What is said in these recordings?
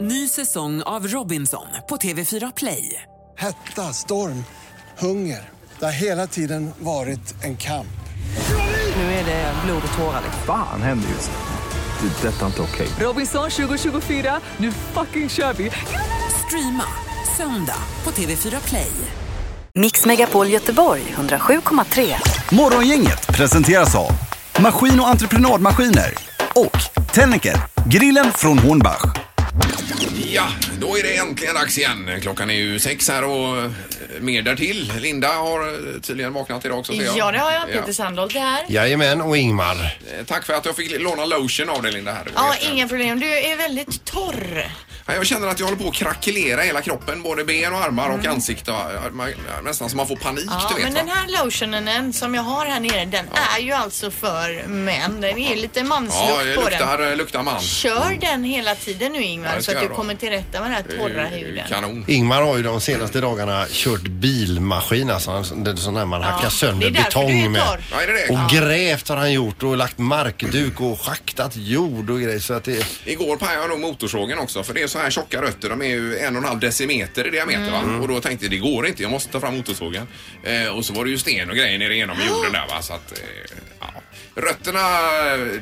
Ny säsong av Robinson på TV4 Play. Hetta, storm, hunger. Det har hela tiden varit en kamp. Nu är det blod och tårar. liksom. Fan händer just nu. Det. är Detta är inte okej. Robinson 2024, nu fucking kör vi! Streama söndag på TV4 Play. Mix Megapol Göteborg 107,3. Morgongänget presenteras av Maskin och entreprenadmaskiner och Tennicker, grillen från Hornbach. Ja, då är det äntligen dags igen. Klockan är ju sex här och eh, mer därtill. Linda har eh, tydligen vaknat idag också. ser jag. Ja, det har jag. Peter Sandholt är här. Jajamän, och Ingmar. Eh, Tack för att jag fick låna lotion av dig Linda. Här. Du Ja, vet det. inga problem. Du är väldigt torr. Ja, Jag känner att jag håller på att krackelera hela kroppen, både ben och armar och ansikte. Ja, man- ja, Nästan som man får panik, Mm. Ja, du vet men va? den här lotionen som jag har här nere, den är ju alltså för män. Den är ju lite Ja, manslukt det på den. luktar, eh, luktar man. Kör den hela tiden nu Ingvar Ja, så det ska att jag du då. kommer till rätta med den här Det är torra ju huden. Kanon. Ingmar har ju de senaste dagarna kört bilmaskin, alltså en- det är sån där man hackar det sönder är därför du är betong med. torr. Ja, är det det? Och Ja. grävt har han gjort och lagt markduk och schaktat jord och grejer så att det... Igår pajade jag nog motorsågen också för det är så här tjocka rötter. De är ju en och en halv decimeter i diameter va? Och då tänkte jag det går inte, jag måste ta fram motorsågen. Eh, och så var det ju sten och grejer nere genom jorden där va. Så att, eh, ja. Rötterna,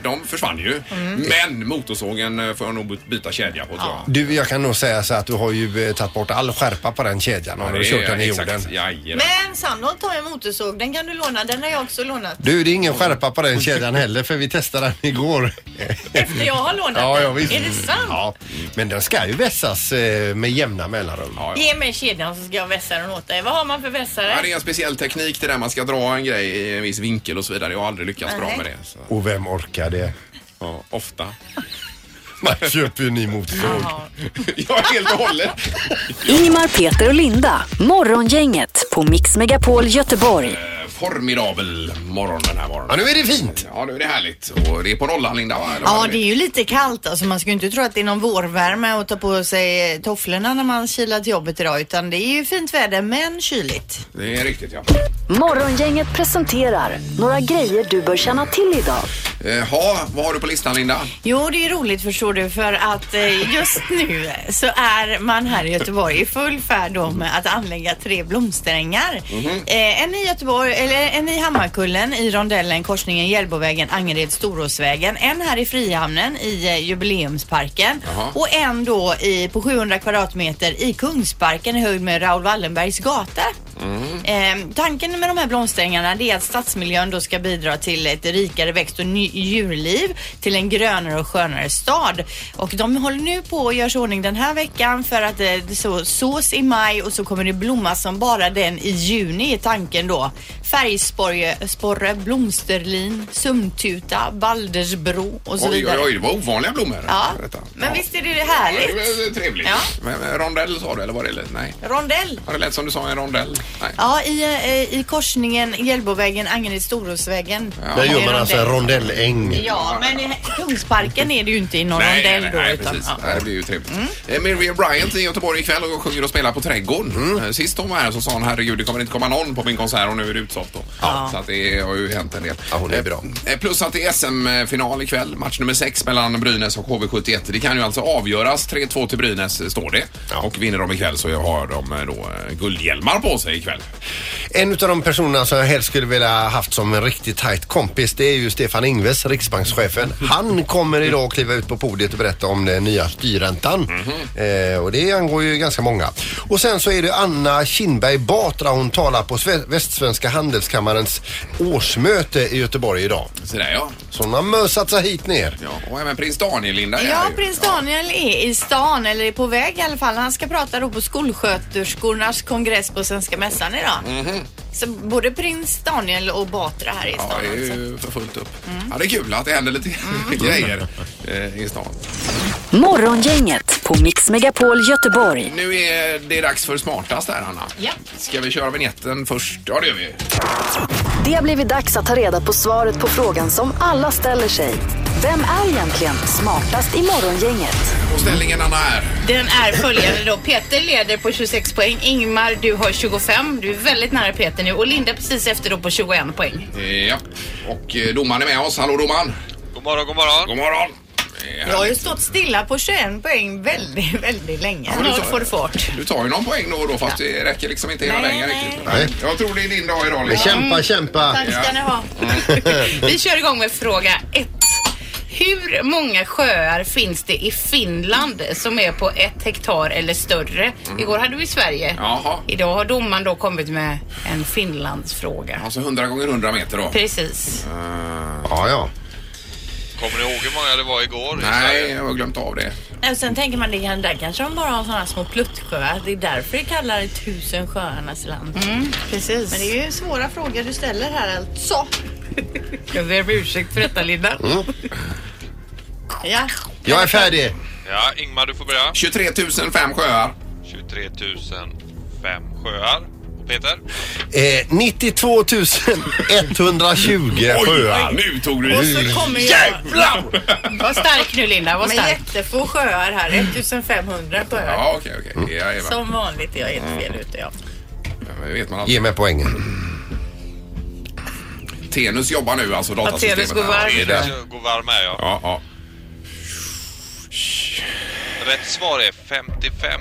de försvann ju. Men motorsågen eh, får jag nog byta kedja på tror jag. Du, jag kan nog säga så att du har ju eh, tagit bort all skärpa på den kedjan och det du kört är- den i exakt. jorden. Jajamän. Men Sandholt har ju motorsåg. Den kan du låna. Den har jag också lånat. Du, det är ingen skärpa på den kedjan heller för vi testade den igår. Efter jag har lånat Ja, den. ja, visst. Är det sant? Ja, men den ska ju vässas eh, med jämna mellanrum. Ja, ja. Ge mig kedjan så ska jag vässa den åt dig. Vad har man för vässare? Ja, det är en speciell teknik till där man ska dra en grej i en viss vinkel och så vidare. Jag har aldrig lyckats bra Nej. med det. Så, Och vem orkar det? ja, ofta. Man köper ju en ny motorsåg. Jaha. Jag är helt och hållet. Ingmar, Peter och Linda. Morgongänget på Mix Megapol Göteborg. Eh, Formidabel morgon den här morgonen. Ja, nu är det fint. Ja, nu är det härligt. Och det är på nollan, Linda, va? Eller vad Ja, är det är ju lite kallt alltså. Man ska ju inte tro att det är någon vårvärme att ta på sig eh, tofflorna när man kilar till jobbet idag utan det är ju fint väder men kyligt. Det är riktigt, ja. Morgongänget presenterar några grejer du bör känna till idag. Eh, ha, vad har du på listan, Linda? Jo, det är roligt förstår du för att eh, just nu så är man här i Göteborg i full färd då med att anlägga tre blomsterängar. Eh, En i Göteborg, eller en i Hammarkullen i rondellen korsningen Hjällbovägen, Angered, Storåsvägen. En här i Frihamnen i eh, Jubileumsparken Jaha. och en då i, på 700 kvadratmeter i Kungsparken i höjd med Raoul Wallenbergs gata. Mm. Eh, tanken med de här blomsterängarna det är att stadsmiljön då ska bidra till ett rikare växt och ny- djurliv till en grönare och skönare stad. Och de håller nu på och görs i ordning den här veckan för att eh, det så, sås i maj och så kommer det blomma som bara den i juni är tanken då. Färgsporre, sporre, blomsterlin, sumtuta, baldersbro och så Oj, vidare. oj, oj, det var ovanliga blommor. Ja, Detta. men visst är det Ja, det härligt? var trevligt. Ja. Men, eh, rondell sa du, eller var det? Nej. Rondell. Har det lät som du sa en rondell? Nej. Ja, i, eh, i korsningen Hjällbovägen, Angered, Storåsvägen. Där gör man alltså en rondelläng. Ja, men i Kungsparken är det ju inte i någon Nej, rondell nej, då. nej, utan, precis. ja. Det här blir ju trevligt. Eh, Miriam Bryant är i Göteborg ikväll och sjunger och spelar på Trädgården. Eh, Sist hon var här så sa hon herregud det kommer inte komma någon på min konsert och nu är det utsålt då. Så att det har ju hänt en del. Ja, hon är Eh, bra. eh, Plus att det är SM-final ikväll, match nummer 6 mellan Brynäs och HV71. Det kan ju alltså avgöras. 3-2 till Brynäs eh, står det. Och vinner de ikväll så har de eh, då eh, guldhjälmar på sig ikväll. En av de personerna som jag helst skulle vilja haft som en riktigt tajt kompis det är ju Stefan Ingves, riksbankschefen. Han kommer idag kliva ut på podiet och berätta om den nya styrräntan. Eh, och det angår ju ganska många. Och sen så är det Anna Kinberg Batra. Hon talar på Sve- Västsvenska handelskammarens årsmöte i Göteborg idag. Så där ja. Så hon har mösat sig hit ner. ja. Och även prins Daniel, Linda. är Ja, här ju. prins Daniel är i stan, eller är på väg i alla fall. Han ska prata då på skolsköterskornas kongress på Svenska Mässan idag. Så både prins Daniel och Batra här i stan. Mhm. Mm. Ja, det är alltså. ju för fullt upp. Ja, det är kul att det händer lite grejer eh, i stan. Morgongänget på Mix Megapol Göteborg. Nu är det dags för smartast här, Anna. Ja. Ska vi köra vignetten först? Ja, det gör vi. Det har blivit dags att ta reda på svaret på frågan som alla ställer sig. Vem är egentligen smartast i morgongänget? Och ställningen, Anna, är... Den är följande då. Peter leder på 26 poäng. Ingmar, du har 25. Du är väldigt nära Peter nu. Och Linda precis efter då på 21 poäng. Eh, Ja. Och eh, domaren är med oss. Hallå, domaren! God morgon, god morgon. God morgon! är Jag har ju härligt. stått stilla på 21 poäng väldigt, väldigt länge. men du Snart sa- får du fart. Du tar ju någon poäng då och då fast det räcker liksom inte hela Nej, vägen nej. riktigt. Nej. Jag tror det är din dag idag Linda. Kämpa, kämpa. Tack ska ni ha. Mm. Vi kör igång med fråga ett. Hur många sjöar finns det i Finland som är på ett hektar eller större? Mm. Igår hade vi Sverige. Jaha. Idag har domaren då kommit med en Finlandsfråga. Alltså 100 gånger 100 meter då. Precis. Ja, ja. Kommer ni ihåg hur många det var igår? i Nej, Sverige? jag har glömt av det. Nej, Och sen tänker man, det kan, där kanske de bara har sådana små pluttsjöar. Det är därför det kallar det tusen sjöarnas land. Precis. Men det är ju svåra frågor du ställer här alltså. Jag ber om ursäkt för detta Linda. Ja. Mm. Jag är färdig. Ja, Ingmar du får börja. 23 005 sjöar. 23 005 sjöar. Och Peter? Eh, 92 120 sjöar. nu tog du i. Så kommer jag. Jävlar! Var stark nu Linda, var Med stark. jättefå sjöar här. 1500 sjöar. Ja, okej, okej. Mm. Jajamän. Som vanligt är jag helt fel ute ja. Det vet man Ge alltid. mig poängen. Tenus jobbar nu, alltså datasystemet. Tenus går Ja, det är varm. det. Jag går varm här ja. Ja, ja. Rätt svar är 55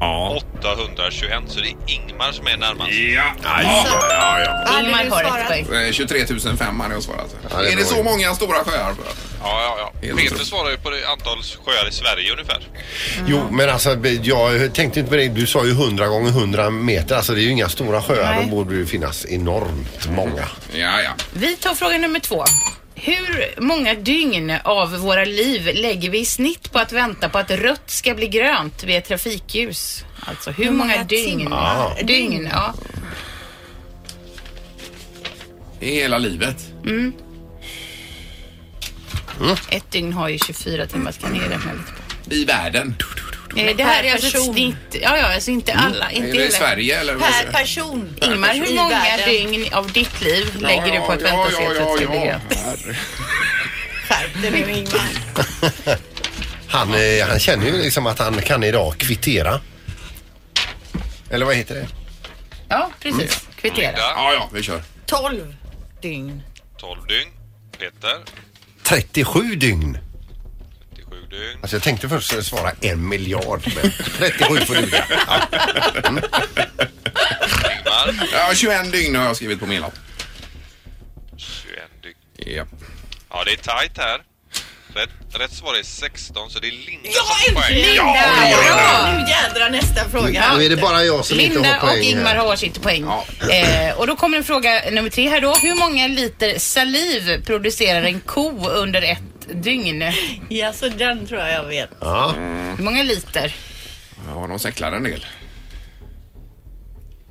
Ja. 821 så det är Ingmar som är närmast. Ja, ja, ja. Ingmar du har ett svarat? poäng. Eh, 23 005 hade jag svarat. det är alltså. är bra. det så många stora sjöar? Ja, ja, ja. Helt Peter otroligt. svarar ju på det antal sjöar i Sverige ungefär. Jo, men alltså jag tänkte inte på det. Du sa ju 100 gånger 100 meter. Alltså det är ju inga stora sjöar. Då borde det ju finnas enormt många. Ja, ja. Vi tar fråga nummer två. Hur många dygn av våra liv lägger vi i snitt på att vänta på att rött ska bli grönt vid ett trafikljus? Alltså hur, många, många dygn? timmar? Dygn, ja. I hela livet. Ett dygn har ju 24 timmar, ska ni räkna lite på. I världen. Eh, Det här Mm. per är alltså ett person. snitt. Ja, ja, alltså inte alla. Är Inte Mm. det i hela. Sverige eller? vad Per säger du? person. Ingmar, hur i många världen. dygn av ditt liv Ja, lägger du på att ja, vänta och se ja, att rött ska ja, bli ja. grönt? Herre. Skärp dig nu Ingmar. Han, eh, han känner ju liksom att han kan idag kvittera. Eller vad heter det? Ja, precis. Mm. Kvittera. Linda, Ja, ja, vi kör. 12 dygn. 12 dygn. Peter, 37 dygn. 37 dygn. Alltså jag tänkte först svara en miljard men 37 får duga. Ja. Ingmar, Ja, 21 dygn har jag skrivit på min lapp. 21 dygn. Ja. Ja, det är tajt här. Rätt, rätt svar är 16 så det är Linda Ja, som får poäng. äntligen! Ja, Ja, nu jädrar nästa fråga. Nu är det bara jag som inte har Linda och poäng. Ingmar här. har varsitt poäng. Ja. Eh, och då kommer en fråga nummer tre här då. Hur många liter saliv producerar en ko under ett dygn? Ja, så den tror jag jag vet. Ja. Hur många liter? ja, de säcklar en del.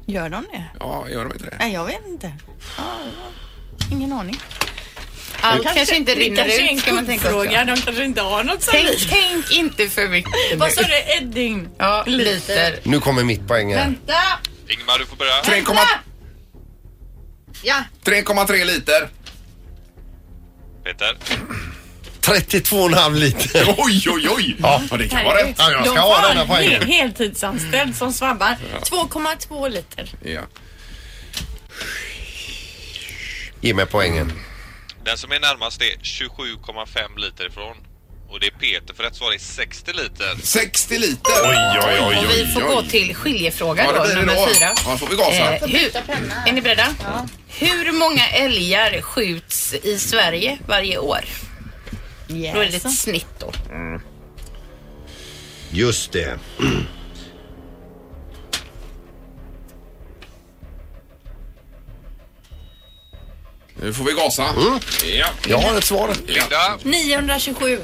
Gör de det? Ja, gör de inte det? Nej, jag vet inte. Ingen aning. Allt kanske, inte rinner ut kan man tänka också. De kanske inte har något Tänk, tänk inte för mycket nu. Vad sa du? Ett dygn? Ja, liter. Nu kommer mitt poäng här. Vänta! Ingmar, du får börja. 3,3 Ja, 3,3 liter. Peter, 32,5 liter. Oj, oj, oj! Ja, det kan vara rätt. Ja, jag ska De ha får denna en poängen. hel- heltidsanställd som svabbar. 2,2 liter. Ja. Ge mig poängen. den som är närmast är 27,5 liter ifrån. Och det är Peter för rätt svar är 60 liter. 60 liter! Oj, oj, oj, och vi får gå till skiljefråga Ja, det då, blir det nummer då. fyra. Ja, då får vi gasa. Eh, hur, är ni beredda? Hur många älgar skjuts i Sverige varje år? Då är det ett snitt då. Just det. Nu får vi gasa. Ja. Jag har ett svar. Linda, 927.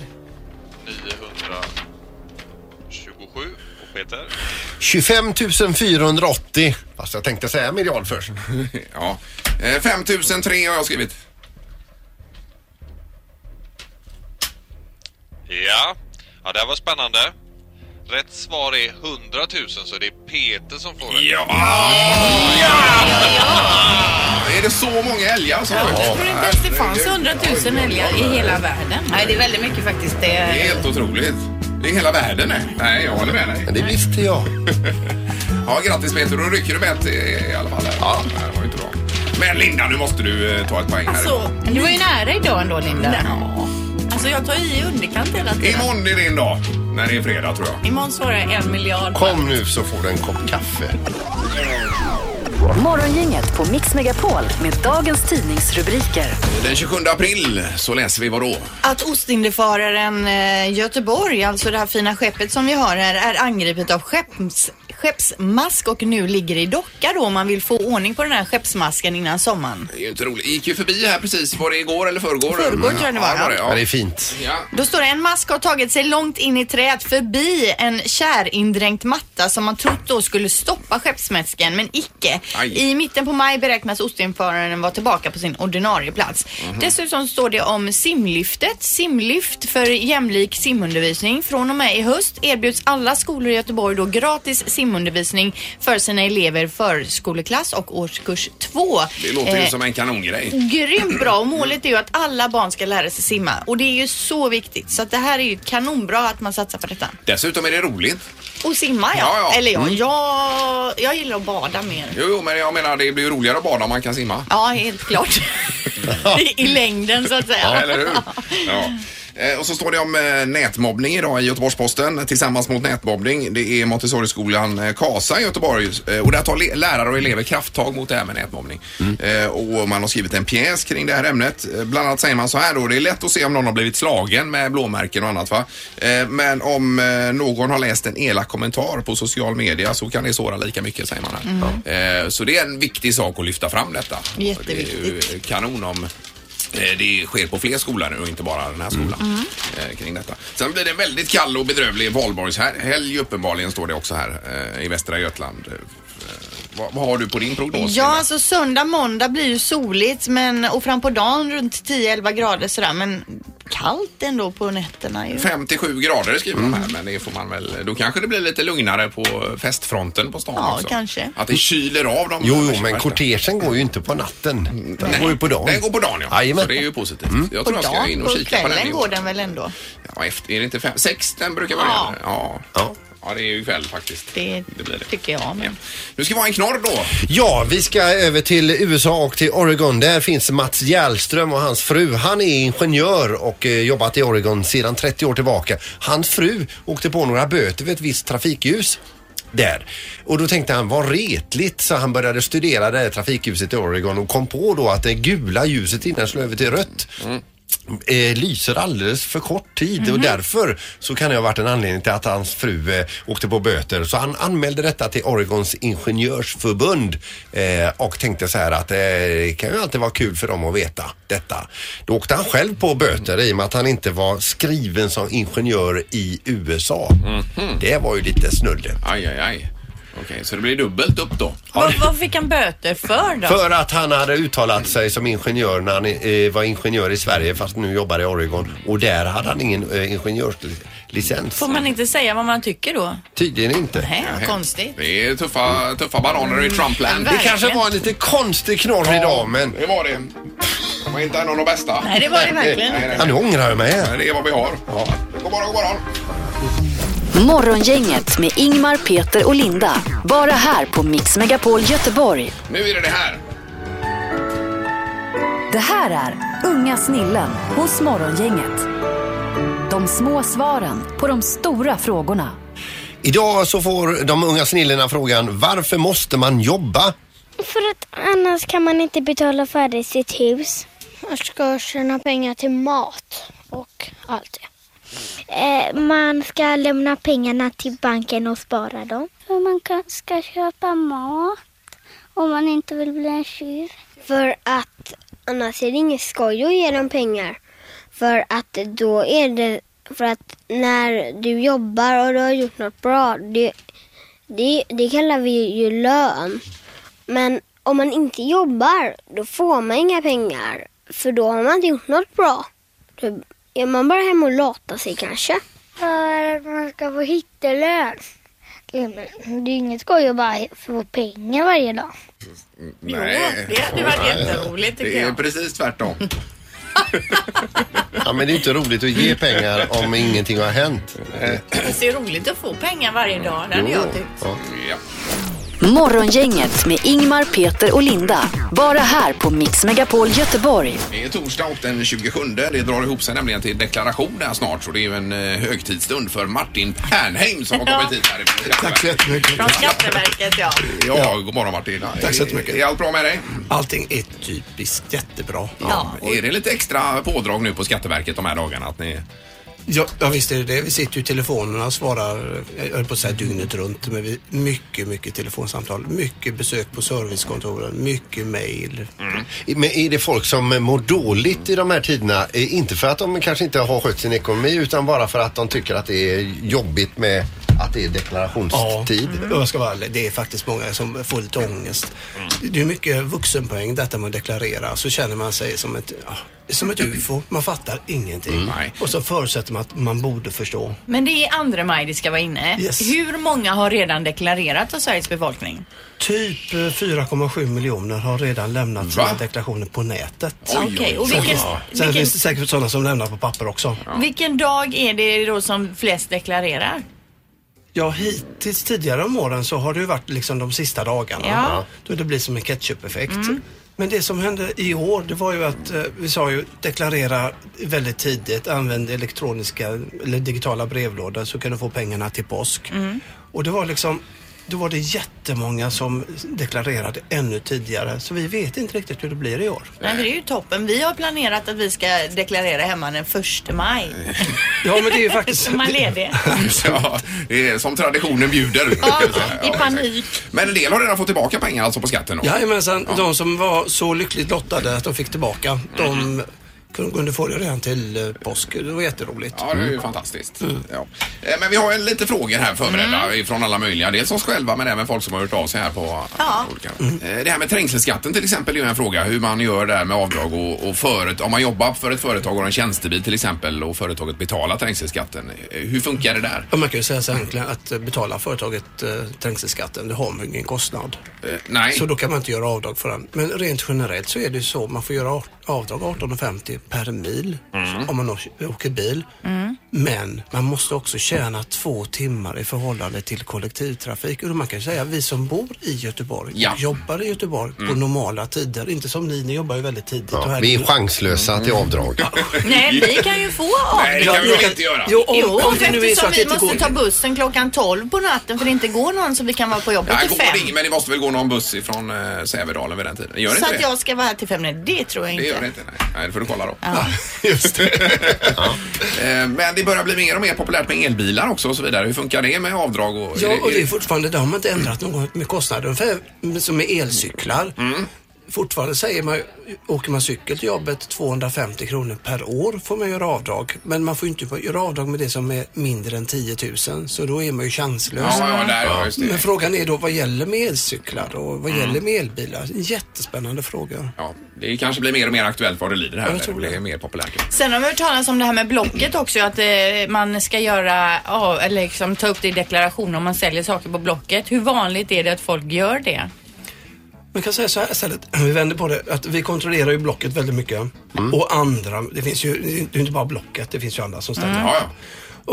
927. Och Peter, 25 480. Fast jag tänkte säga miljard först. ja. Eh, 5003 har jag skrivit. ja. Ja, det här var spännande. Rätt svar är 100 000 så det är Peter som får det. Ja! Är det så många älgar som har Jag tror inte ens det fanns Herregud. 100 000 älgar i hela världen. Nej, det är väldigt mycket faktiskt. Det är Det, helt otroligt. Det är hela världen det. Nej, jag håller med dig. Men det visste jag. Ja, grattis Peter. Då rycker du med ett i i alla fall. Här. Ja. Det här var ju inte bra. Men Linda, nu måste du eh, ta ett poäng här. Alltså, Men du var ju nära idag ändå, Linda. Ja. så jag tar i i underkant hela tiden. Imorgon är det en dag. När det är fredag tror jag. Imorgon svarar jag en miljard. Kom nu så får du en kopp kaffe. Morgongänget på Mix Megapol med dagens tidningsrubriker. Den 27 april så läser vi vad då? Att Ostindiefararen eh, Göteborg, alltså det här fina skeppet som vi har här, är angripet av skepps, skeppsmask och nu ligger i docka då om man vill få ordning på den här skeppsmasken innan sommaren. Det är ju inte roligt. gick ju förbi här precis. Var det igår eller förrgår? Förrgår tror jag det var, Ja, ja. var det, Ja, det ja. är fint. ja. Då står det en mask har tagit sig långt in i träet förbi en kärindränkt matta som man trott då skulle stoppa skeppsmäsken men icke. Aj. I mitten på maj beräknas ostinföraren vara tillbaka på sin ordinarie plats. Mhm. Dessutom står det om simlyftet. Simlyft för jämlik simundervisning. Från och med i höst erbjuds alla skolor i Göteborg då gratis simundervisning för sina elever förskoleklass och årskurs 2. Det låter ju Eh, som en kanongrej. Grymt bra och målet är ju att alla barn ska lära sig simma och det är ju så viktigt så att det här är ju kanonbra att man satsar på detta. Dessutom är det roligt. Och simma ja. Ja, Mm. ja. Eller ja, jag, jag gillar att bada mer. Jo, jo, men jag menar det blir ju roligare att bada om man kan simma. Ja, helt klart. I, I längden så att säga. Eller hur? Ja. Eh, Och så står det om eh, nätmobbning idag i Göteborgs-Posten. Tillsammans mot nätmobbning. Det är Montessoriskolan eh, Kasa i Göteborg. Eh, Och där tar le- lärare och elever krafttag mot det här med nätmobbning. Eh, Och man har skrivit en pjäs kring det här ämnet. Eh, Bland annat säger man så här då. Det är lätt att se om någon har blivit slagen med blåmärken och annat va. Eh, Men om eh, någon har läst en elak kommentar på social media så kan det såra lika mycket säger man här. Eh, Så det är en viktig sak att lyfta fram detta. Jätteviktigt. Det är ju kanon om eh, det sker på fler skolor nu och inte bara den här Mm. skolan. eh, Kring detta. Sen blir det en väldigt kall och bedrövlig valborgshelg uppenbarligen står det också här eh, i Västra Götaland. Eh, Vad, vad har du på din prognos? Ja, Linda? alltså söndag, måndag blir ju soligt men, och fram på dagen runt 10-11 grader sådär men kallt ändå på nätterna ju. 57 grader skriver de här Mm. men det får man väl, då kanske det blir lite lugnare på festfronten på stan Ja, också. kanske. Att det kyler av dem. Jo, jo, men kortegen går ju inte på natten. Den går ju på dagen. Den går på dagen ja. Jajamän. Så det är ju positivt. Jag På tror jag ska dagen, in och på kika på den. i kvällen år. går den väl ändå. Ja, efter, är det inte fem? Sex den brukar vara Ja. det. Ja. Ja. ja, det är ju kväll faktiskt. Det, tycker jag med. Nu ska vi ha en knorr då. Ja, vi ska över till USA och till Oregon. Där finns Mats Järlström och hans fru. Han är ingenjör och eh, jobbat i Oregon sedan 30 år tillbaka. Hans fru åkte på några böter vid ett visst trafikljus. Där. Och då tänkte han, vad retligt, så han började studera det här trafikljuset i Oregon och kom på då att det gula ljuset innan slår över till rött eh, lyser alldeles för kort tid Mhm. och därför så kan det ha varit en anledning till att hans fru eh, åkte på böter. Så han anmälde detta till Oregons ingenjörsförbund eh, och tänkte så här att eh, det kan ju alltid vara kul för dem att veta detta. Då åkte han själv på böter i och med att han inte var skriven som ingenjör i USA. Mhm. Det var ju lite snulle. Aj, aj, aj. Okej, så det blir dubbelt upp då. Vad, vad fick han böter för då? För att han hade uttalat sig som ingenjör när han eh, var ingenjör i Sverige fast nu jobbar i Oregon och där hade han ingen eh, ingenjörslicens. Får man inte säga vad man tycker då? Tydligen inte. Nej, vad konstigt. Det är tuffa, tuffa bananer i Trumpland. Det Verkligen. kanske var en lite konstig knorr idag men Det var det. Det var inte en av de bästa. Nej, det var det verkligen. nej, ja, nu ångrar jag mig. här. Det är vad vi har. Ja. God morgon, god morgon. Morgongänget med Ingmar, Peter och Linda. Bara här på Mix Megapol Göteborg. Nu är det det här. Det här är Unga snillen hos Morgongänget. De små svaren på de stora frågorna. Idag så får de unga snillena frågan varför måste man jobba? För att annars kan man inte betala färdigt sitt hus. Man ska tjäna pengar till mat och allt det. Eh, man ska lämna pengarna till banken och spara dem. För man ska köpa mat om man inte vill bli en tjuv. För att annars är det inget skoj att ge dem pengar. För att då är det för att när du jobbar och du har gjort något bra, det, det, det kallar vi ju lön. Men om man inte jobbar, då får man inga pengar. För då har man inte gjort något bra. Då är man bara hemma och latar sig kanske. För att man ska få hittelön. Det är inget skoj att bara få pengar varje dag. Nej. Det hade varit jätteroligt Det tycker är jag. precis tvärtom. Ja men det är inte roligt att ge pengar om ingenting har hänt. Eh, Fast Det är roligt att få pengar varje dag, det hade jag tyckt. Ja. Morgongänget med Ingmar, Peter och Linda. Bara här på Mix Megapol Göteborg. Det är torsdag och den 27. Det drar ihop sig nämligen till deklaration där snart. Så det är ju en eh, högtidsstund för Martin Pernheim som har kommit hit här. Tack så jättemycket. Från Skatteverket, ja. Ja, god morgon Martin. Tack så jättemycket. Är allt bra med dig? Allting är typiskt jättebra. Ja. Är det lite extra pådrag nu på Skatteverket de här dagarna? Att ni... Ja, ja visst är det det. Vi sitter ju i telefonerna och svarar, jag höll på att säga dygnet runt, men vi, mycket, mycket telefonsamtal, mycket besök på servicekontoren, mycket mejl. Men är det folk som mår dåligt i de här tiderna? Eh, Inte för att de kanske inte har skött sin ekonomi utan bara för att de tycker att det är jobbigt med att det är deklarationstid. Ja, och jag ska vara ärlig, det är faktiskt många som får lite ångest. Mm. Det är mycket vuxenpoäng detta med att deklarera, så känner man sig som ett, ja, som ett ufo. Man fattar ingenting. Mm. Och så förutsätter man att man borde förstå. Men det är andra maj det ska vara inne. Yes. Hur många har redan deklarerat av Sveriges befolkning? Typ eh, 4,7 miljoner har redan lämnat sina deklarationer på nätet. Oj, oj, Okej, och vilken- Sen vilken- finns det säkert sådana som lämnar på papper också. Vilken dag är det då som flest deklarerar? Ja, hittills tidigare om åren så har det ju varit liksom de sista dagarna. Ja. Då det blir som en ketchup-effekt. Mm. Men det som hände i år, det var ju att eh, vi sa ju deklarera väldigt tidigt, använd elektroniska eller digitala brevlådor så kan du få pengarna till påsk. Och det var liksom, då var det jättemånga som deklarerade ännu tidigare så vi vet inte riktigt hur det blir i år. Nej, men det är ju toppen. Vi har planerat att vi ska deklarera hemma den första maj. Ja, men det är ju faktiskt... Så man är ledig. ja, det är som traditionen bjuder. Ja, i Ja, panik. Men en del har redan fått tillbaka pengar alltså på skatten då? Jajamensan, de som var så lyckligt lottade att de fick tillbaka, de kunde- kunde få det redan till eh, påsk. Det var jätteroligt. Ja, det är ju fantastiskt. Ja. Eh, Men vi har en lite frågor här förberedda från alla möjliga. Dels oss själva men även folk som har hört av sig här på Ja. olika. Eh, Det här med trängselskatten till exempel är ju en fråga. Hur man gör där med avdrag och, och föret- om man jobbar för ett företag och har en tjänstebil till exempel och företaget betalar trängselskatten. Eh, Hur funkar det där? Ja, Man kan ju säga så enkelt att eh, betalar företaget eh, trängselskatten, det har man ju ingen kostnad. Eh, nej. Så då kan man inte göra avdrag för den. Men rent generellt så är det ju så, man får göra a- avdrag 18,50 per mil om man å- åker bil. Men man måste också tjäna två timmar i förhållande till kollektivtrafik. Och man kan säga vi som bor i Göteborg, Ja. jobbar i Göteborg på Mm. normala tider. Inte som ni, ni jobbar ju väldigt tidigt. och Ja, här- vi är chanslösa till avdrag. Nej, vi kan ju få avdrag. Nej, det kan vi väl inte göra? Jo, om- Jo, om det nu är så eftersom att det vi inte måste går. ta bussen klockan 12 på natten för det inte går någon så vi kan vara på jobbet Nej, till går fem. det, ingen- men det måste väl gå någon buss ifrån eh, Sävedalen vid den tiden? Gör det så inte att det? jag ska vara här till fem, nej det tror jag Det inte. gör det inte, nej. nej det får du kolla då. Ja. Just Eh, Men det börjar bli mer och mer populärt med elbilar också och så vidare. Hur funkar det med avdrag och... Eh, Ja, och det är fortfarande, det har man inte ändrat något med kostnader. Ungefär som med elcyklar. Mm. Fortfarande säger man, åker man cykel till jobbet 250 kronor per år får man göra avdrag. Men man får ju inte göra avdrag med det som är mindre än 10 000 så då är man ju chanslös. Ja, ja, där, ja, just det. Mm. Men frågan är då vad gäller med elcyklar och vad gäller med elbilar? En jättespännande fråga. Ja, det kanske blir mer och mer aktuellt vad det lider här. Ja, jag eller? tror Mm. det blir mer populärt. Sen har vi hört talas om det här med Blocket också, att eh, man ska göra, ja, eller liksom ta upp det i deklaration om man säljer saker på Blocket. Hur vanligt är det att folk gör det? Man kan säga så här istället, vi vänder på det, att vi kontrollerar ju Blocket väldigt mycket. Mm. Och andra, det finns ju, det är inte bara Blocket, det finns ju andra som ställer Mm. upp. Ja,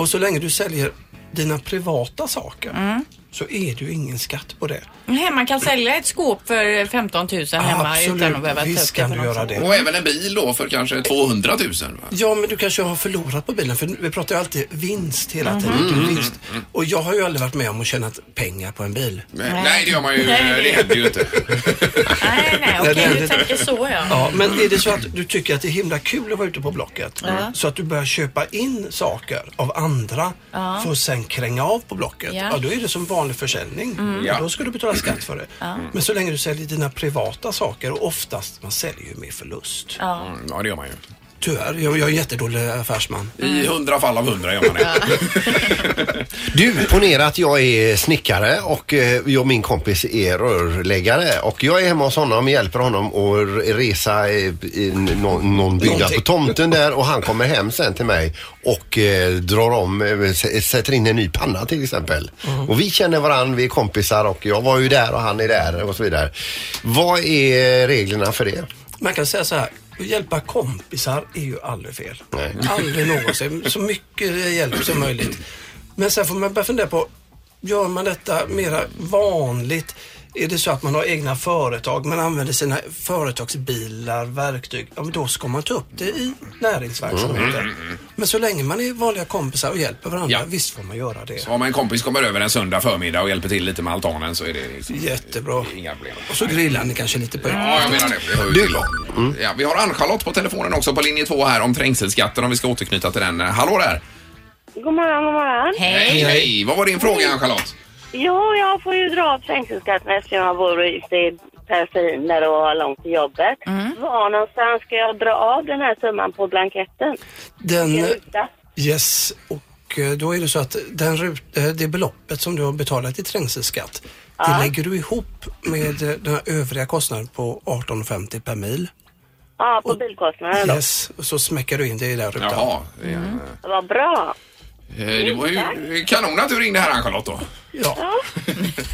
Och så länge du säljer dina privata saker Mm. så är det ju ingen skatt på det. Nej, man kan sälja ett skåp för 15 000 hemma utan att behöva ta upp visst kan det. du göra det. Och även en bil då för kanske 200 000. va? Ja, men du kanske har förlorat på bilen för vi pratar ju alltid vinst hela tiden. Mm. Du, Mm. vinst. Och jag har ju aldrig varit med om att tjäna pengar på en bil. Nej, Eh, nej, det gör man ju. Det händer ju inte. Nej, det okej, händer du inte. tänker så ja. Ja, men är det så att du tycker att det är himla kul att vara ute på Blocket Ja. så att du börjar köpa in saker av andra Ja. för att sen kränga av på Blocket, Ja. ja. då är det som vanlig försäljning. Mm. Och Ja. Då ska du betala skatt för det. Ja. Men så länge du säljer dina privata saker och oftast, man säljer ju med förlust. Ja. Mm, Ja, det gör man ju. Tyvärr, jag, jag är en jättedålig affärsman. I hundra fall av hundra gör man det. Du, ponera att jag är snickare och eh, jag och min kompis är rörläggare och jag är hemma hos honom och hjälper honom att resa eh, i någon, någon byggnad på tomten där och han kommer hem sen till mig och eh, drar om, eh, s- sätter in en ny panna till exempel. Mm. Och vi känner varandra, vi är kompisar och jag var ju där och han är där och så vidare. Vad är reglerna för det? Man kan säga så här, att hjälpa kompisar är ju aldrig fel. Nej. Aldrig någonsin. Så mycket hjälp som möjligt. Men sen får man börja fundera på, gör man detta mera vanligt? Är det så att man har egna företag, man använder sina företagsbilar, verktyg, ja, men då ska man ta upp det i Mm, näringsverksamheten. Men så länge man är vanliga kompisar och hjälper varandra, visst får man göra det. Så om en kompis kommer över en söndag förmiddag och hjälper till lite med altanen så är det liksom Jättebra. inga problem. Och så grillar ni kanske lite på Ja, jag menar det. Vi hör ju till. Ja, vi har Ann-Charlotte på telefonen också på linje två här om trängselskatten om vi ska återknyta till den. Hallå där! God morgon, god morgon. Hej, hej! Vad var din fråga Ann-Charlotte? Jo, jag får ju dra av trängselskatten eftersom jag bor ute i Persiner och har långt till jobbet. Mm. Var någonstans ska jag dra av den här summan på blanketten? Den, Vilken ruta? yes, och eh, då är det så att den rut, eh, det beloppet som du har betalat i trängselskatt, det lägger du ihop med eh, den här övriga kostnaden på 18,50 per mil. Ja, på bilkostnaden då. Yes, och så smäcker du in det i den rutan. Jaha. Mm. Vad bra. Eh, Det var ju kanon att du ringde här Ann-Charlotte då.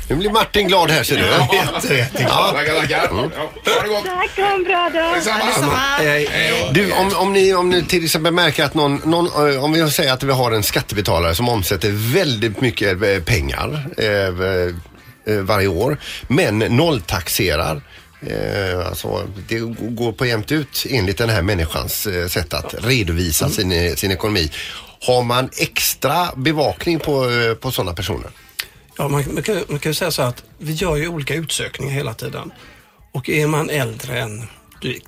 Nu blir Martin glad här ser du. Jätte, jätteglad. Mm. Tackar, tackar. Ha det gott. Tack, ha en bra dag. Eh, Du, om, om, ni, om ni till exempel märker att någon, någon eh, om vi säger att vi har en skattebetalare som omsätter väldigt mycket eh, pengar eh, eh, varje år, men nolltaxerar. Eh, alltså, det går på jämnt ut enligt den här människans eh, sätt att redovisa sin, sin ekonomi. Har man extra bevakning på, eh, på sådana personer? Ja, man, man, kan, man kan ju säga så att vi gör ju olika utsökningar hela tiden. Och är man äldre än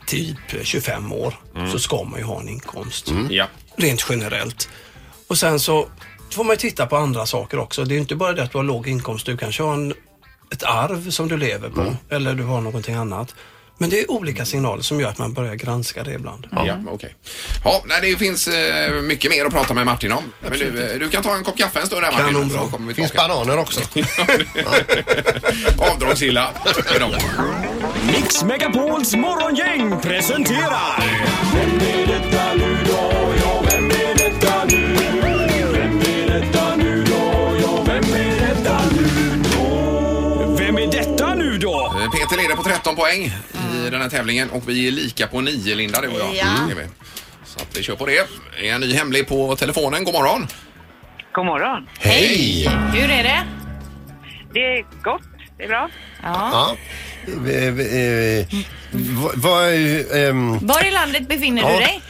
typ 25 år Mm. så ska man ju ha en inkomst. Ja. Rent generellt. Och sen så får man ju titta på andra saker också. Det är ju inte bara det att du har låg inkomst. Du kanske har en, ett arv som du lever på eller du har någonting annat. Men det är olika signaler som gör att man börjar granska det ibland. Ja, okej. Ja, nej, det finns eh, mycket mer att prata med Martin om. Men du, eh, du kan ta en kopp kaffe en stund där Martin. Kanonbra. Så kommer vi Finns tillbaka. bananer också. Avdragsgilla. för dem. Mix Megapols morgongäng presenterar... Vem är detta nu då? Ja, vem är detta nu? Vem är detta nu då? Ja, vem är detta nu då? Vem är detta nu då? Eh, Peter leder på 13 poäng i den här tävlingen och vi är lika på 9 Linda du och jag. Mm, Ja. Det är vi. Så att vi kör på det. Det är en ny hemlig på telefonen. God morgon. God morgon. Hej! Hur är det? Det är gott. Det är bra. Ja. Eh, eh, eh, vad- vad, ehm, Var i landet befinner du Ja. dig?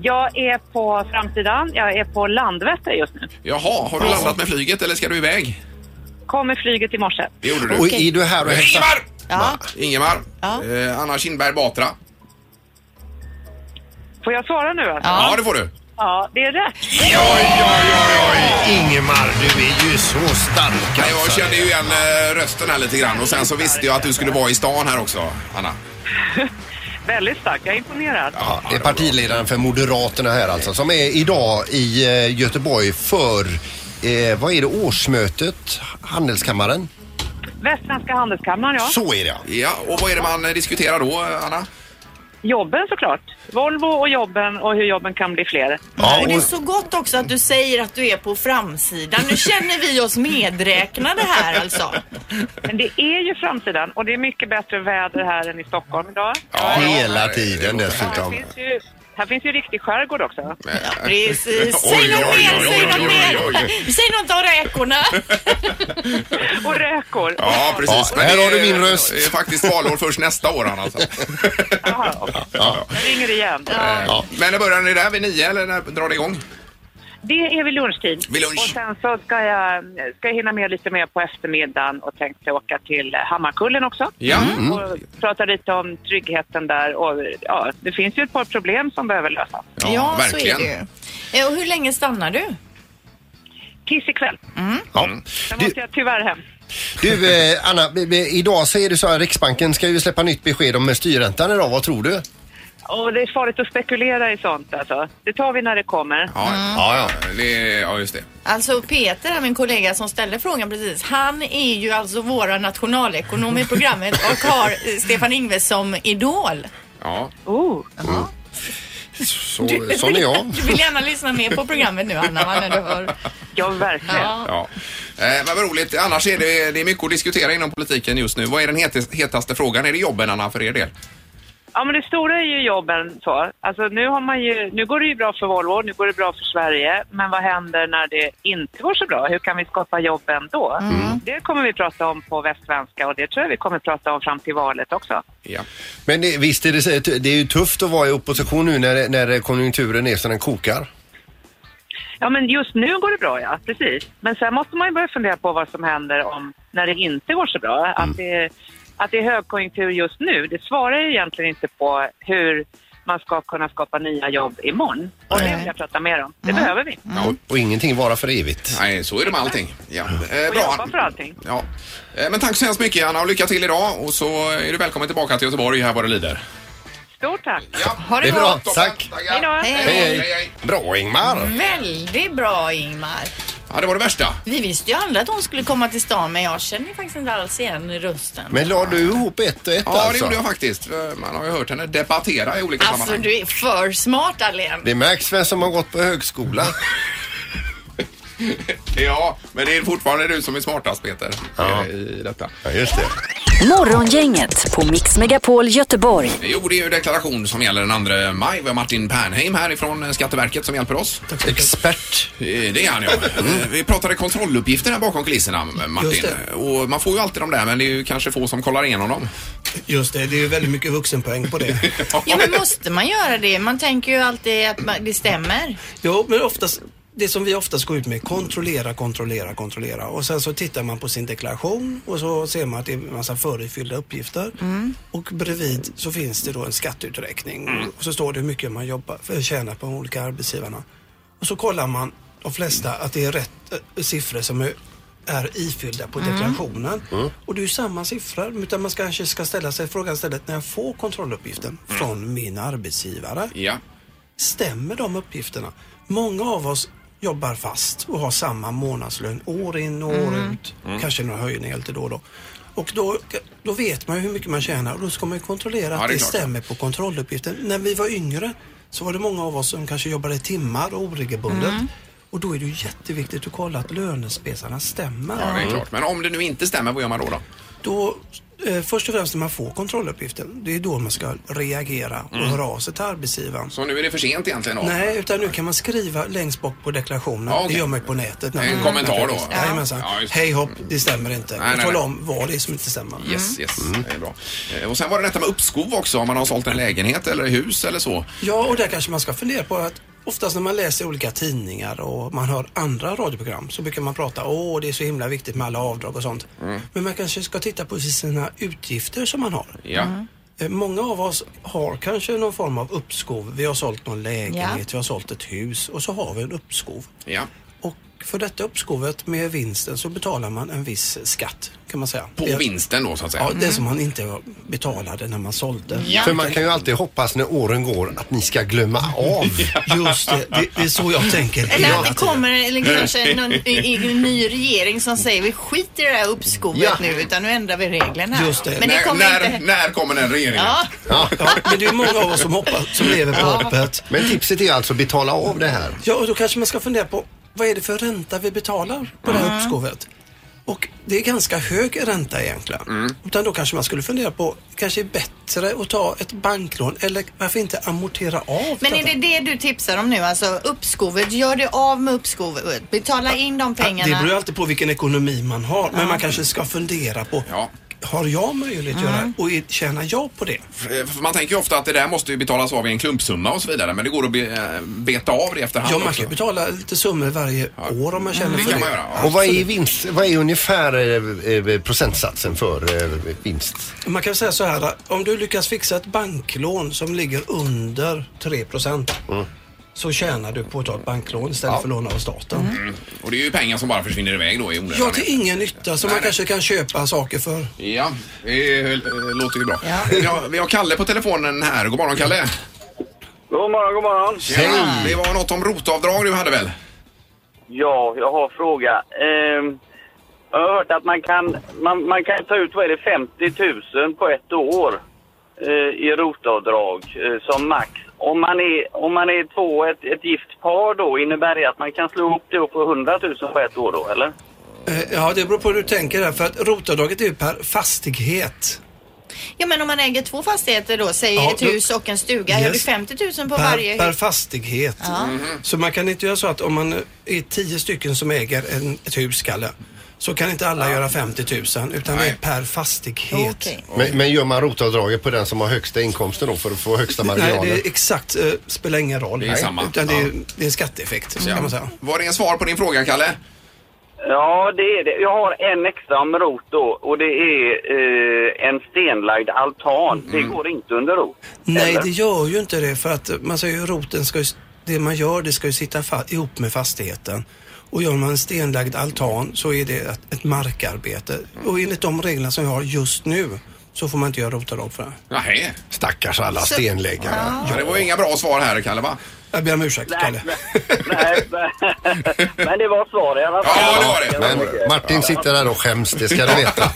Jag är på framsidan. Jag är på Landvetter just nu. Jaha, har du landat med flyget eller ska du iväg? Kom med flyget i morse. Det gjorde du. Och är du här och hälsar? Ingemar! Ja. Ingemar. Ja. Eh, Anna Kinberg Batra. Får jag svara nu alltså? Ja. det får du. Ja, det är rätt. Ingemar, du är ju så stark alltså. Ja, jag kände ju igen eh, rösten här lite grann och sen så visste jag att du skulle vara i stan här också, Anna. Väldigt starkt. Jag är imponerad. Ja, det är partiledaren för Moderaterna här alltså som är idag i eh, Göteborg för, eh, vad är det, årsmötet? Handelskammaren? Västsvenska handelskammaren, ja. Så är det Ja, och vad är det man eh, diskuterar då, eh, Anna? Jobben såklart. Volvo och jobben och hur jobben kan bli fler. och det är så gott också att du säger att du är på framsidan. Nu känner vi oss medräknade här alltså. Men det är ju framsidan och det är mycket bättre väder här än i Stockholm idag. Hela eh, tiden dessutom. Det är ju- Här finns ju riktig skärgård också. Precis. Säg något mer, säg något mer. Säg något om räkorna. Och räkor. Ja, precis. Ja, här har du min röst. Det är faktiskt valår först nästa år, Anna. Så. Jag ringer igen. Ja. Men när börjar ni där? Vid nio eller när drar det igång? Det är vid lunchtid. Vid lunch. Och sen så ska jag, ska jag hinna med lite mer på eftermiddagen och tänkte åka till Hammarkullen också. Ja. Mm. Och prata lite om tryggheten där och ja, det finns ju ett par problem som behöver lösas. så är det ju. Eh, Och hur länge stannar du? Tills ikväll. Ja. Sen måste jag tyvärr hem. Du eh, Anna, b- b- idag så är det så här Riksbanken ska ju släppa nytt besked om eh, styrräntan idag. Vad tror du? Och det är farligt att spekulera i sånt alltså. Det tar vi när det kommer. Ja, ja. Det, ja, just det. Alltså Peter, här, min kollega som ställde frågan precis, han är ju alltså våra nationalekonom i programmet och har eh, Stefan Ingves som idol. Ja. Oh. Så, sån är jag. Du vill gärna lyssna mer på programmet nu Anna, va, när du hör. Ja, verkligen. Ja. Ja. Eh, men vad roligt. Annars är det, det är mycket att diskutera inom politiken just nu. Vad är den het, hetaste frågan? Är det jobben, Anna, för er del? Ja, men det stora är ju jobben. Så. Alltså, nu, har man ju, nu går det ju bra för Volvo, nu går det bra för Sverige. Men vad händer när det inte går så bra? Hur kan vi skapa jobben då? Det kommer vi prata om på Västsvenska och det tror jag vi kommer prata om fram till valet också. Men det, visst är det, det är ju tufft att vara i opposition nu när, när konjunkturen är så den kokar. Ja, men just nu går det bra, ja. Precis. Men sen måste man ju börja fundera på vad som händer om, när det inte går så bra. Mm. Att, det, att det är högkonjunktur just nu, det svarar ju egentligen inte på hur man ska kunna skapa nya jobb imorgon. Och det vill jag prata mer om. Det behöver vi. Mm. Och, och ingenting vara för evigt. Nej, så är det med allting. Ja. Eh, Och bra. jobba för allting. Ja. Eh, Men tack så hemskt mycket Anna och lycka till idag och så är du välkommen tillbaka till Göteborg här vad det lider. Stort tack. Ha det, Det är bra. gott. Tack. Hej då. Hej, hej, hej. Bra Ingmar. Mm. Väldigt bra Ingmar. Ja, det var det värsta. Vi visste ju alla att hon skulle komma till stan men jag känner ju faktiskt inte alls igen rösten. Men la du ihop ett och ett Ja, det alltså? gjorde jag faktiskt. Eh, Man har ju hört henne debattera i olika Alltså sammanhang. du är för smart Alen. Det märks vem som har gått på högskola. Ja, men det är fortfarande du som är smartast Peter eh, i detta. Ja, just det. Morgongänget på Mix Megapol Göteborg. Jo, det är ju deklaration som gäller den 2 maj. Vi har Martin Pernheim här ifrån Skatteverket som hjälper oss. Expert. Det är han ja. Eh, Vi pratade kontrolluppgifter här bakom kulisserna eh, Just Martin. det. Och man får ju alltid de där men det är ju kanske få som kollar igenom dem. Just det, det är ju väldigt mycket vuxenpoäng på det. Ja men måste man göra det? Man tänker ju alltid att man, det stämmer. Jo, men oftast, det som vi oftast går ut med, kontrollera, kontrollera, kontrollera. Och sen så tittar man på sin deklaration och så ser man att det är en massa förifyllda uppgifter. Och bredvid så finns det då en skatteuträkning. Och så står det hur mycket man jobbar, för tjänar på de olika arbetsgivarna. Och så kollar man de flesta att det är rätt eh, siffror som är, är ifyllda på Mm. deklarationen. Och det är ju samma siffror, utan man kanske ska ställa sig frågan istället när jag får kontrolluppgiften från min arbetsgivare. Ja. Stämmer de uppgifterna? Många av oss jobbar fast och har samma månadslön år in och år Mm. ut. Kanske några höjningar lite då och då. Och då, då vet man ju hur mycket man tjänar och då ska man ju kontrollera att Ja, det det, är klart. stämmer på kontrolluppgiften. När vi var yngre så var det många av oss som kanske jobbade timmar och oregelbundet. Mm. Och då är det ju jätteviktigt att kolla att lönespesarna stämmer. Ja, det är klart. Men om det nu inte stämmer, vad gör man då? då? Då, eh, först och främst när man får kontrolluppgiften, det är då man ska reagera och Mm. höra av sig till arbetsgivaren. Så nu är det för sent egentligen? Då. Nej, utan nu kan man skriva längst bak på deklarationen. Ja, okej. Det gör man ju på nätet. En man- kommentar då? Ja. Ja. Jajamensan. Ja, just det. Hej hopp, det stämmer inte. Nej, och nej, tala nej. om vad det är som inte stämmer. Yes, yes. Det är bra. Eh, Och sen var det detta med uppskov också, om man har sålt en lägenhet eller hus eller så. Ja, och där kanske man ska fundera på att oftast när man läser olika tidningar och man hör andra radioprogram så brukar man prata åh, det är så himla viktigt med alla avdrag och sånt. Mm. Men man kanske ska titta på sina utgifter som man har. Ja. Mm. Eh, Många av oss har kanske någon form av uppskov. Vi har sålt någon lägenhet, Ja. vi har sålt ett hus och så har vi en uppskov. Ja. För detta uppskovet med vinsten så betalar man en viss skatt kan man säga. På Det- vinsten då så att säga. Ja, det som man inte betalade när man sålde. För man kan ju alltid hoppas när åren går att ni ska glömma av. Just det, det, är så jag tänker. Eller att det kommer eller kanske någon, i- i- en ny regering som säger vi skiter i det här uppskovet Ja. nu utan nu ändrar vi reglerna. Just det. Men det När- kommer när- inte... När kommer den regeringen? Ja. Ja. men det är många av oss som, hoppas, som lever på Ja. hoppet. Men tipset är alltså betala av det här. Ja, och då kanske man ska fundera på vad är det för ränta vi betalar på Mm. det här uppskovet? Och det är ganska hög ränta egentligen. Mm. Utan då kanske man skulle fundera på, kanske är bättre att ta ett banklån eller varför inte amortera av Men är detta? det det du tipsar om nu? Alltså uppskovet, gör det av med uppskovet. Betala in de Det beror ju pengarna. alltid på vilken ekonomi man har, men Ja. man kanske ska fundera på Har jag möjlighet att göra Mm. det? Och är- tjänar jag på det? F- för Man tänker ju ofta att det där måste ju betalas av i en klumpsumma och så vidare. Men det går att be, eh, beta av det i efterhand Ja, man också. kan Mm. ju betala lite summor varje år om man känner Det för kan det. man göra, Och vad är, vinst, vad är ungefär eh, eh, procentsatsen för eh, vinst? Man kan säga så här, om du lyckas fixa ett banklån som ligger under 3 så tjänar du på att ta ett banklån istället för att låna av staten. Mm. Och det är ju pengar som bara försvinner iväg då i onödan. Ja, till ingen nytta som man kanske kan köpa saker för. Ja, det eh, låter ju bra. Vi, har, vi har Kalle på telefonen här. God morgon Kalle. God morgon, god morgon. Hej. Det var något om rotavdrag du hade väl? Ja, jag har en fråga. Ehm, jag har hört att man kan, man, man kan ta ut vad är det, 50 000 på ett år eh, i rotavdrag eh, som max. Om man är, om man är två, ett, ett gift par då, innebär det att man kan slå ihop det och få 100 000 på ett år då, eller? Eh, Ja, det beror på hur du tänker där. För att rotavdraget är ju per fastighet. Ja men om man äger två fastigheter då, säg Ja, ett då- hus och en stuga, gör du Yes. 50 000 på per, varje per hus? fastighet. Ja. Mhm. Så man kan inte göra så att om man är tio stycken som äger en, ett hus, Kalle, så kan inte alla göra 50 000 utan det är per fastighet. Men, men gör man rotavdraget på den som har högsta inkomsten då för att få högsta Nej, marginalen? det är exakt, eh, spelar ingen roll. Det är Nej, samma. Utan det, är, Ja. Mm. det är en skatteeffekt, så Ja. kan man säga. Var det en svar på din fråga, Kalle? Ja, det är det. Jag har en extra om rot då och det är eh, en stenlagd altan. Det går inte under rot. Mm. Nej, eller? det gör ju inte det för att eh, man säger ju roten ska ju, s- det man gör det ska ju sitta fa- ihop med fastigheten. Och gör man en stenlagd altan så är det ett, ett markarbete. Mm. Och enligt de reglerna som vi har just nu så får man inte göra rotavdrag för det. Nej. Stackars alla Så- stenläggare. Ja. Ja, det var ju inga bra svar här, Kalle, va? Jag ber om ursäkt, Kalle. Men det var svar i alla fall. Men Martin sitter där och skäms, det ska du veta.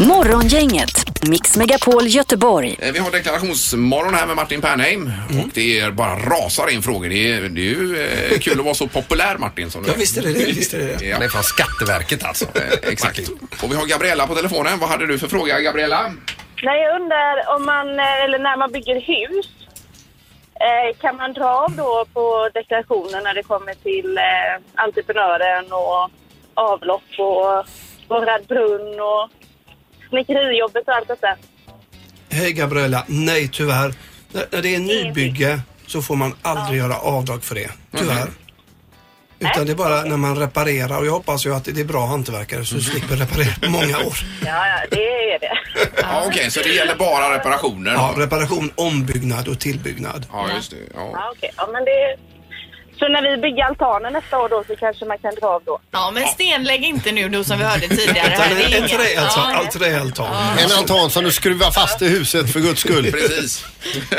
Morgongänget, Mix Megapol Göteborg. Eh, Vi har deklarationsmorgon här med Martin Pernheim Mm. och det är bara rasar in frågor. Det är, det är ju eh, kul att vara så populär Martin som du Ja, visst är det det, visst är det det. Han är från Skatteverket alltså. Exakt. Och vi har Gabriella på telefonen. Vad hade du för fråga Gabriella? Nej, jag undrar om man, eh, eller när man bygger hus, eh, kan man dra av då på deklarationen när det kommer till eh, entreprenören och avlopp och borrad brunn och snickerijobbet och allt detta? Hej Gabriella. Nej, tyvärr. När när det är nybygge så får man aldrig göra avdrag för det. Mhm. Tyvärr. Utan det är bara när man reparerar och jag hoppas ju att det är bra hantverkare Mhm. så slipper reparera många år. Ja, ja, det är det. Ja, Okej, så det gäller bara reparationer? Ja, reparation, ombyggnad och tillbyggnad. Ja, just det. Ja, okej. Ja, men det... Så när vi bygger altanen nästa år då så kanske man kan dra av då? Ja men stenlägg inte nu då som vi hörde tidigare. Utan här. Det är en inget. träaltan. Ja, Allt träaltan. En altan som du skruvar fast i huset för guds skull. Precis.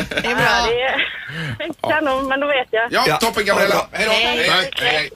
Det är bra. Ja, det är... Kanon, men då vet jag. Ja, toppen, Gabriella. Hej då. Hej. Hej, hej.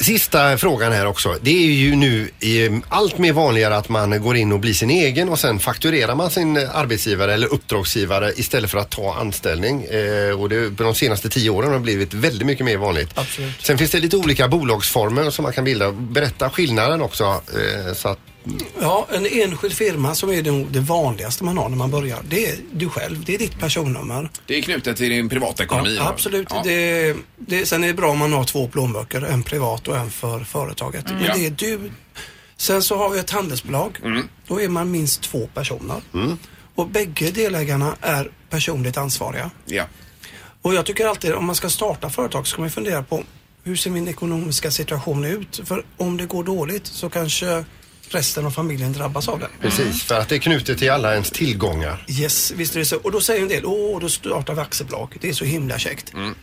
Sista frågan här också. Det är ju nu eh, allt mer vanligare att man går in och blir sin egen och sen fakturerar man sin eh, arbetsgivare eller uppdragsgivare istället för att ta anställning. Eh, Och det, på de senaste tio åren har det blivit väldigt mycket mer vanligt. Absolut. Sen finns det lite olika bolagsformer som man kan bilda. Berätta skillnaden också. eh, Så att, Mm. Ja, en enskild firma som är det, det vanligaste man har när man börjar, det är du själv. Det är ditt personnummer. Det är knutet till din privatekonomi? Ja, va? absolut. Ja. Det, det, sen är det bra om man har två plånböcker, en privat och en för företaget. Mm. Men Ja. Mm. det är du. Sen så har vi ett handelsbolag. Då är man minst två personer. Och bägge delägarna är personligt ansvariga. Ja. Och jag tycker alltid om man ska starta företag så ska man fundera på hur ser min ekonomiska situation ut? För om det går dåligt så kanske resten av familjen drabbas av det. precis, för att det är knutet till alla ens tillgångar. Yes, visst är det så. Och då säger en del, åh, då startar vi aktiebolag. Det är så himla käckt. Mm.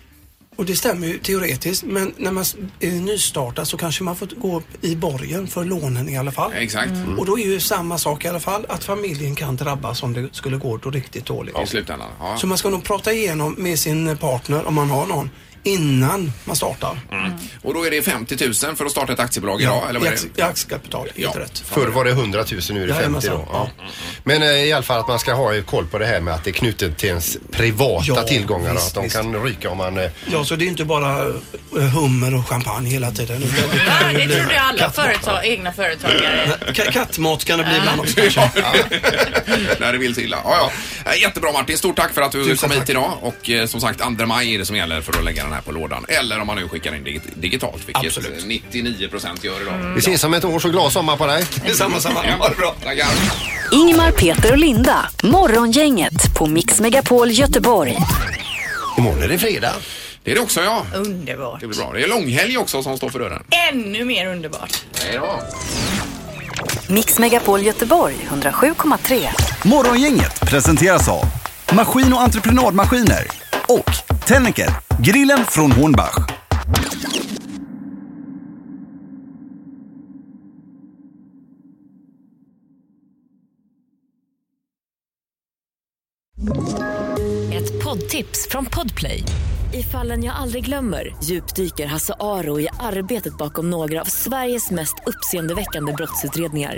Och det stämmer ju teoretiskt, men när man s- är nystartad så kanske man får gå upp i borgen för lånen i alla fall. Exakt. Mm. Och då är ju samma sak i alla fall, att familjen kan drabbas om det skulle gå då riktigt dåligt. I slutändan? Ja. Så man ska nog prata igenom med sin partner, om man har någon, innan man startar. Mm. Och då är det 50 000 för att starta ett aktiebolag idag? eller vad i är ax- det? i aktiekapital, helt Ja. rätt. Förr var det 100 000, nu är det 50 Jajamensan. då. Ja. Men eh, i alla fall att man ska ha eh, koll på det här med att det är knutet till ens privata Ja, tillgångar visst, och att de visst. kan ryka om man eh, Ja, så det är inte bara eh, hummer och champagne hela tiden. utan det Ja, kan ju det bli trodde jag alla kattmat. företag, egna företagare. Ka- Kattmat kan det bli ibland också kanske. När det vill sig illa. Ja, ja. Eh, Jättebra Martin, stort tack för att du kom hit idag. Och eh, som sagt, 2 maj är det som gäller för att lägga den här på lådan. Eller om man nu skickar in dig- digitalt, vilket 99 procent gör idag. Vi ses om ett år, så glad sommar på dig. Samma, samma. Ha det bra. Tackar. Ingmar, Peter och Linda. Morgongänget på Mix Megapol Göteborg. Imorgon är det fredag. Det är det också ja. Underbart. Det blir bra. Det är långhelg också som står för dörren. Ännu mer underbart. Hej då. Mix Megapol Göteborg 107,3. Morgongänget presenteras av Maskin och entreprenadmaskiner och Tennicker, grillen från Hornbach. Ett poddtips från Podplay. I fallen jag aldrig glömmer djupdyker Hasse Aro i arbetet bakom några av Sveriges mest uppseendeväckande brottsutredningar.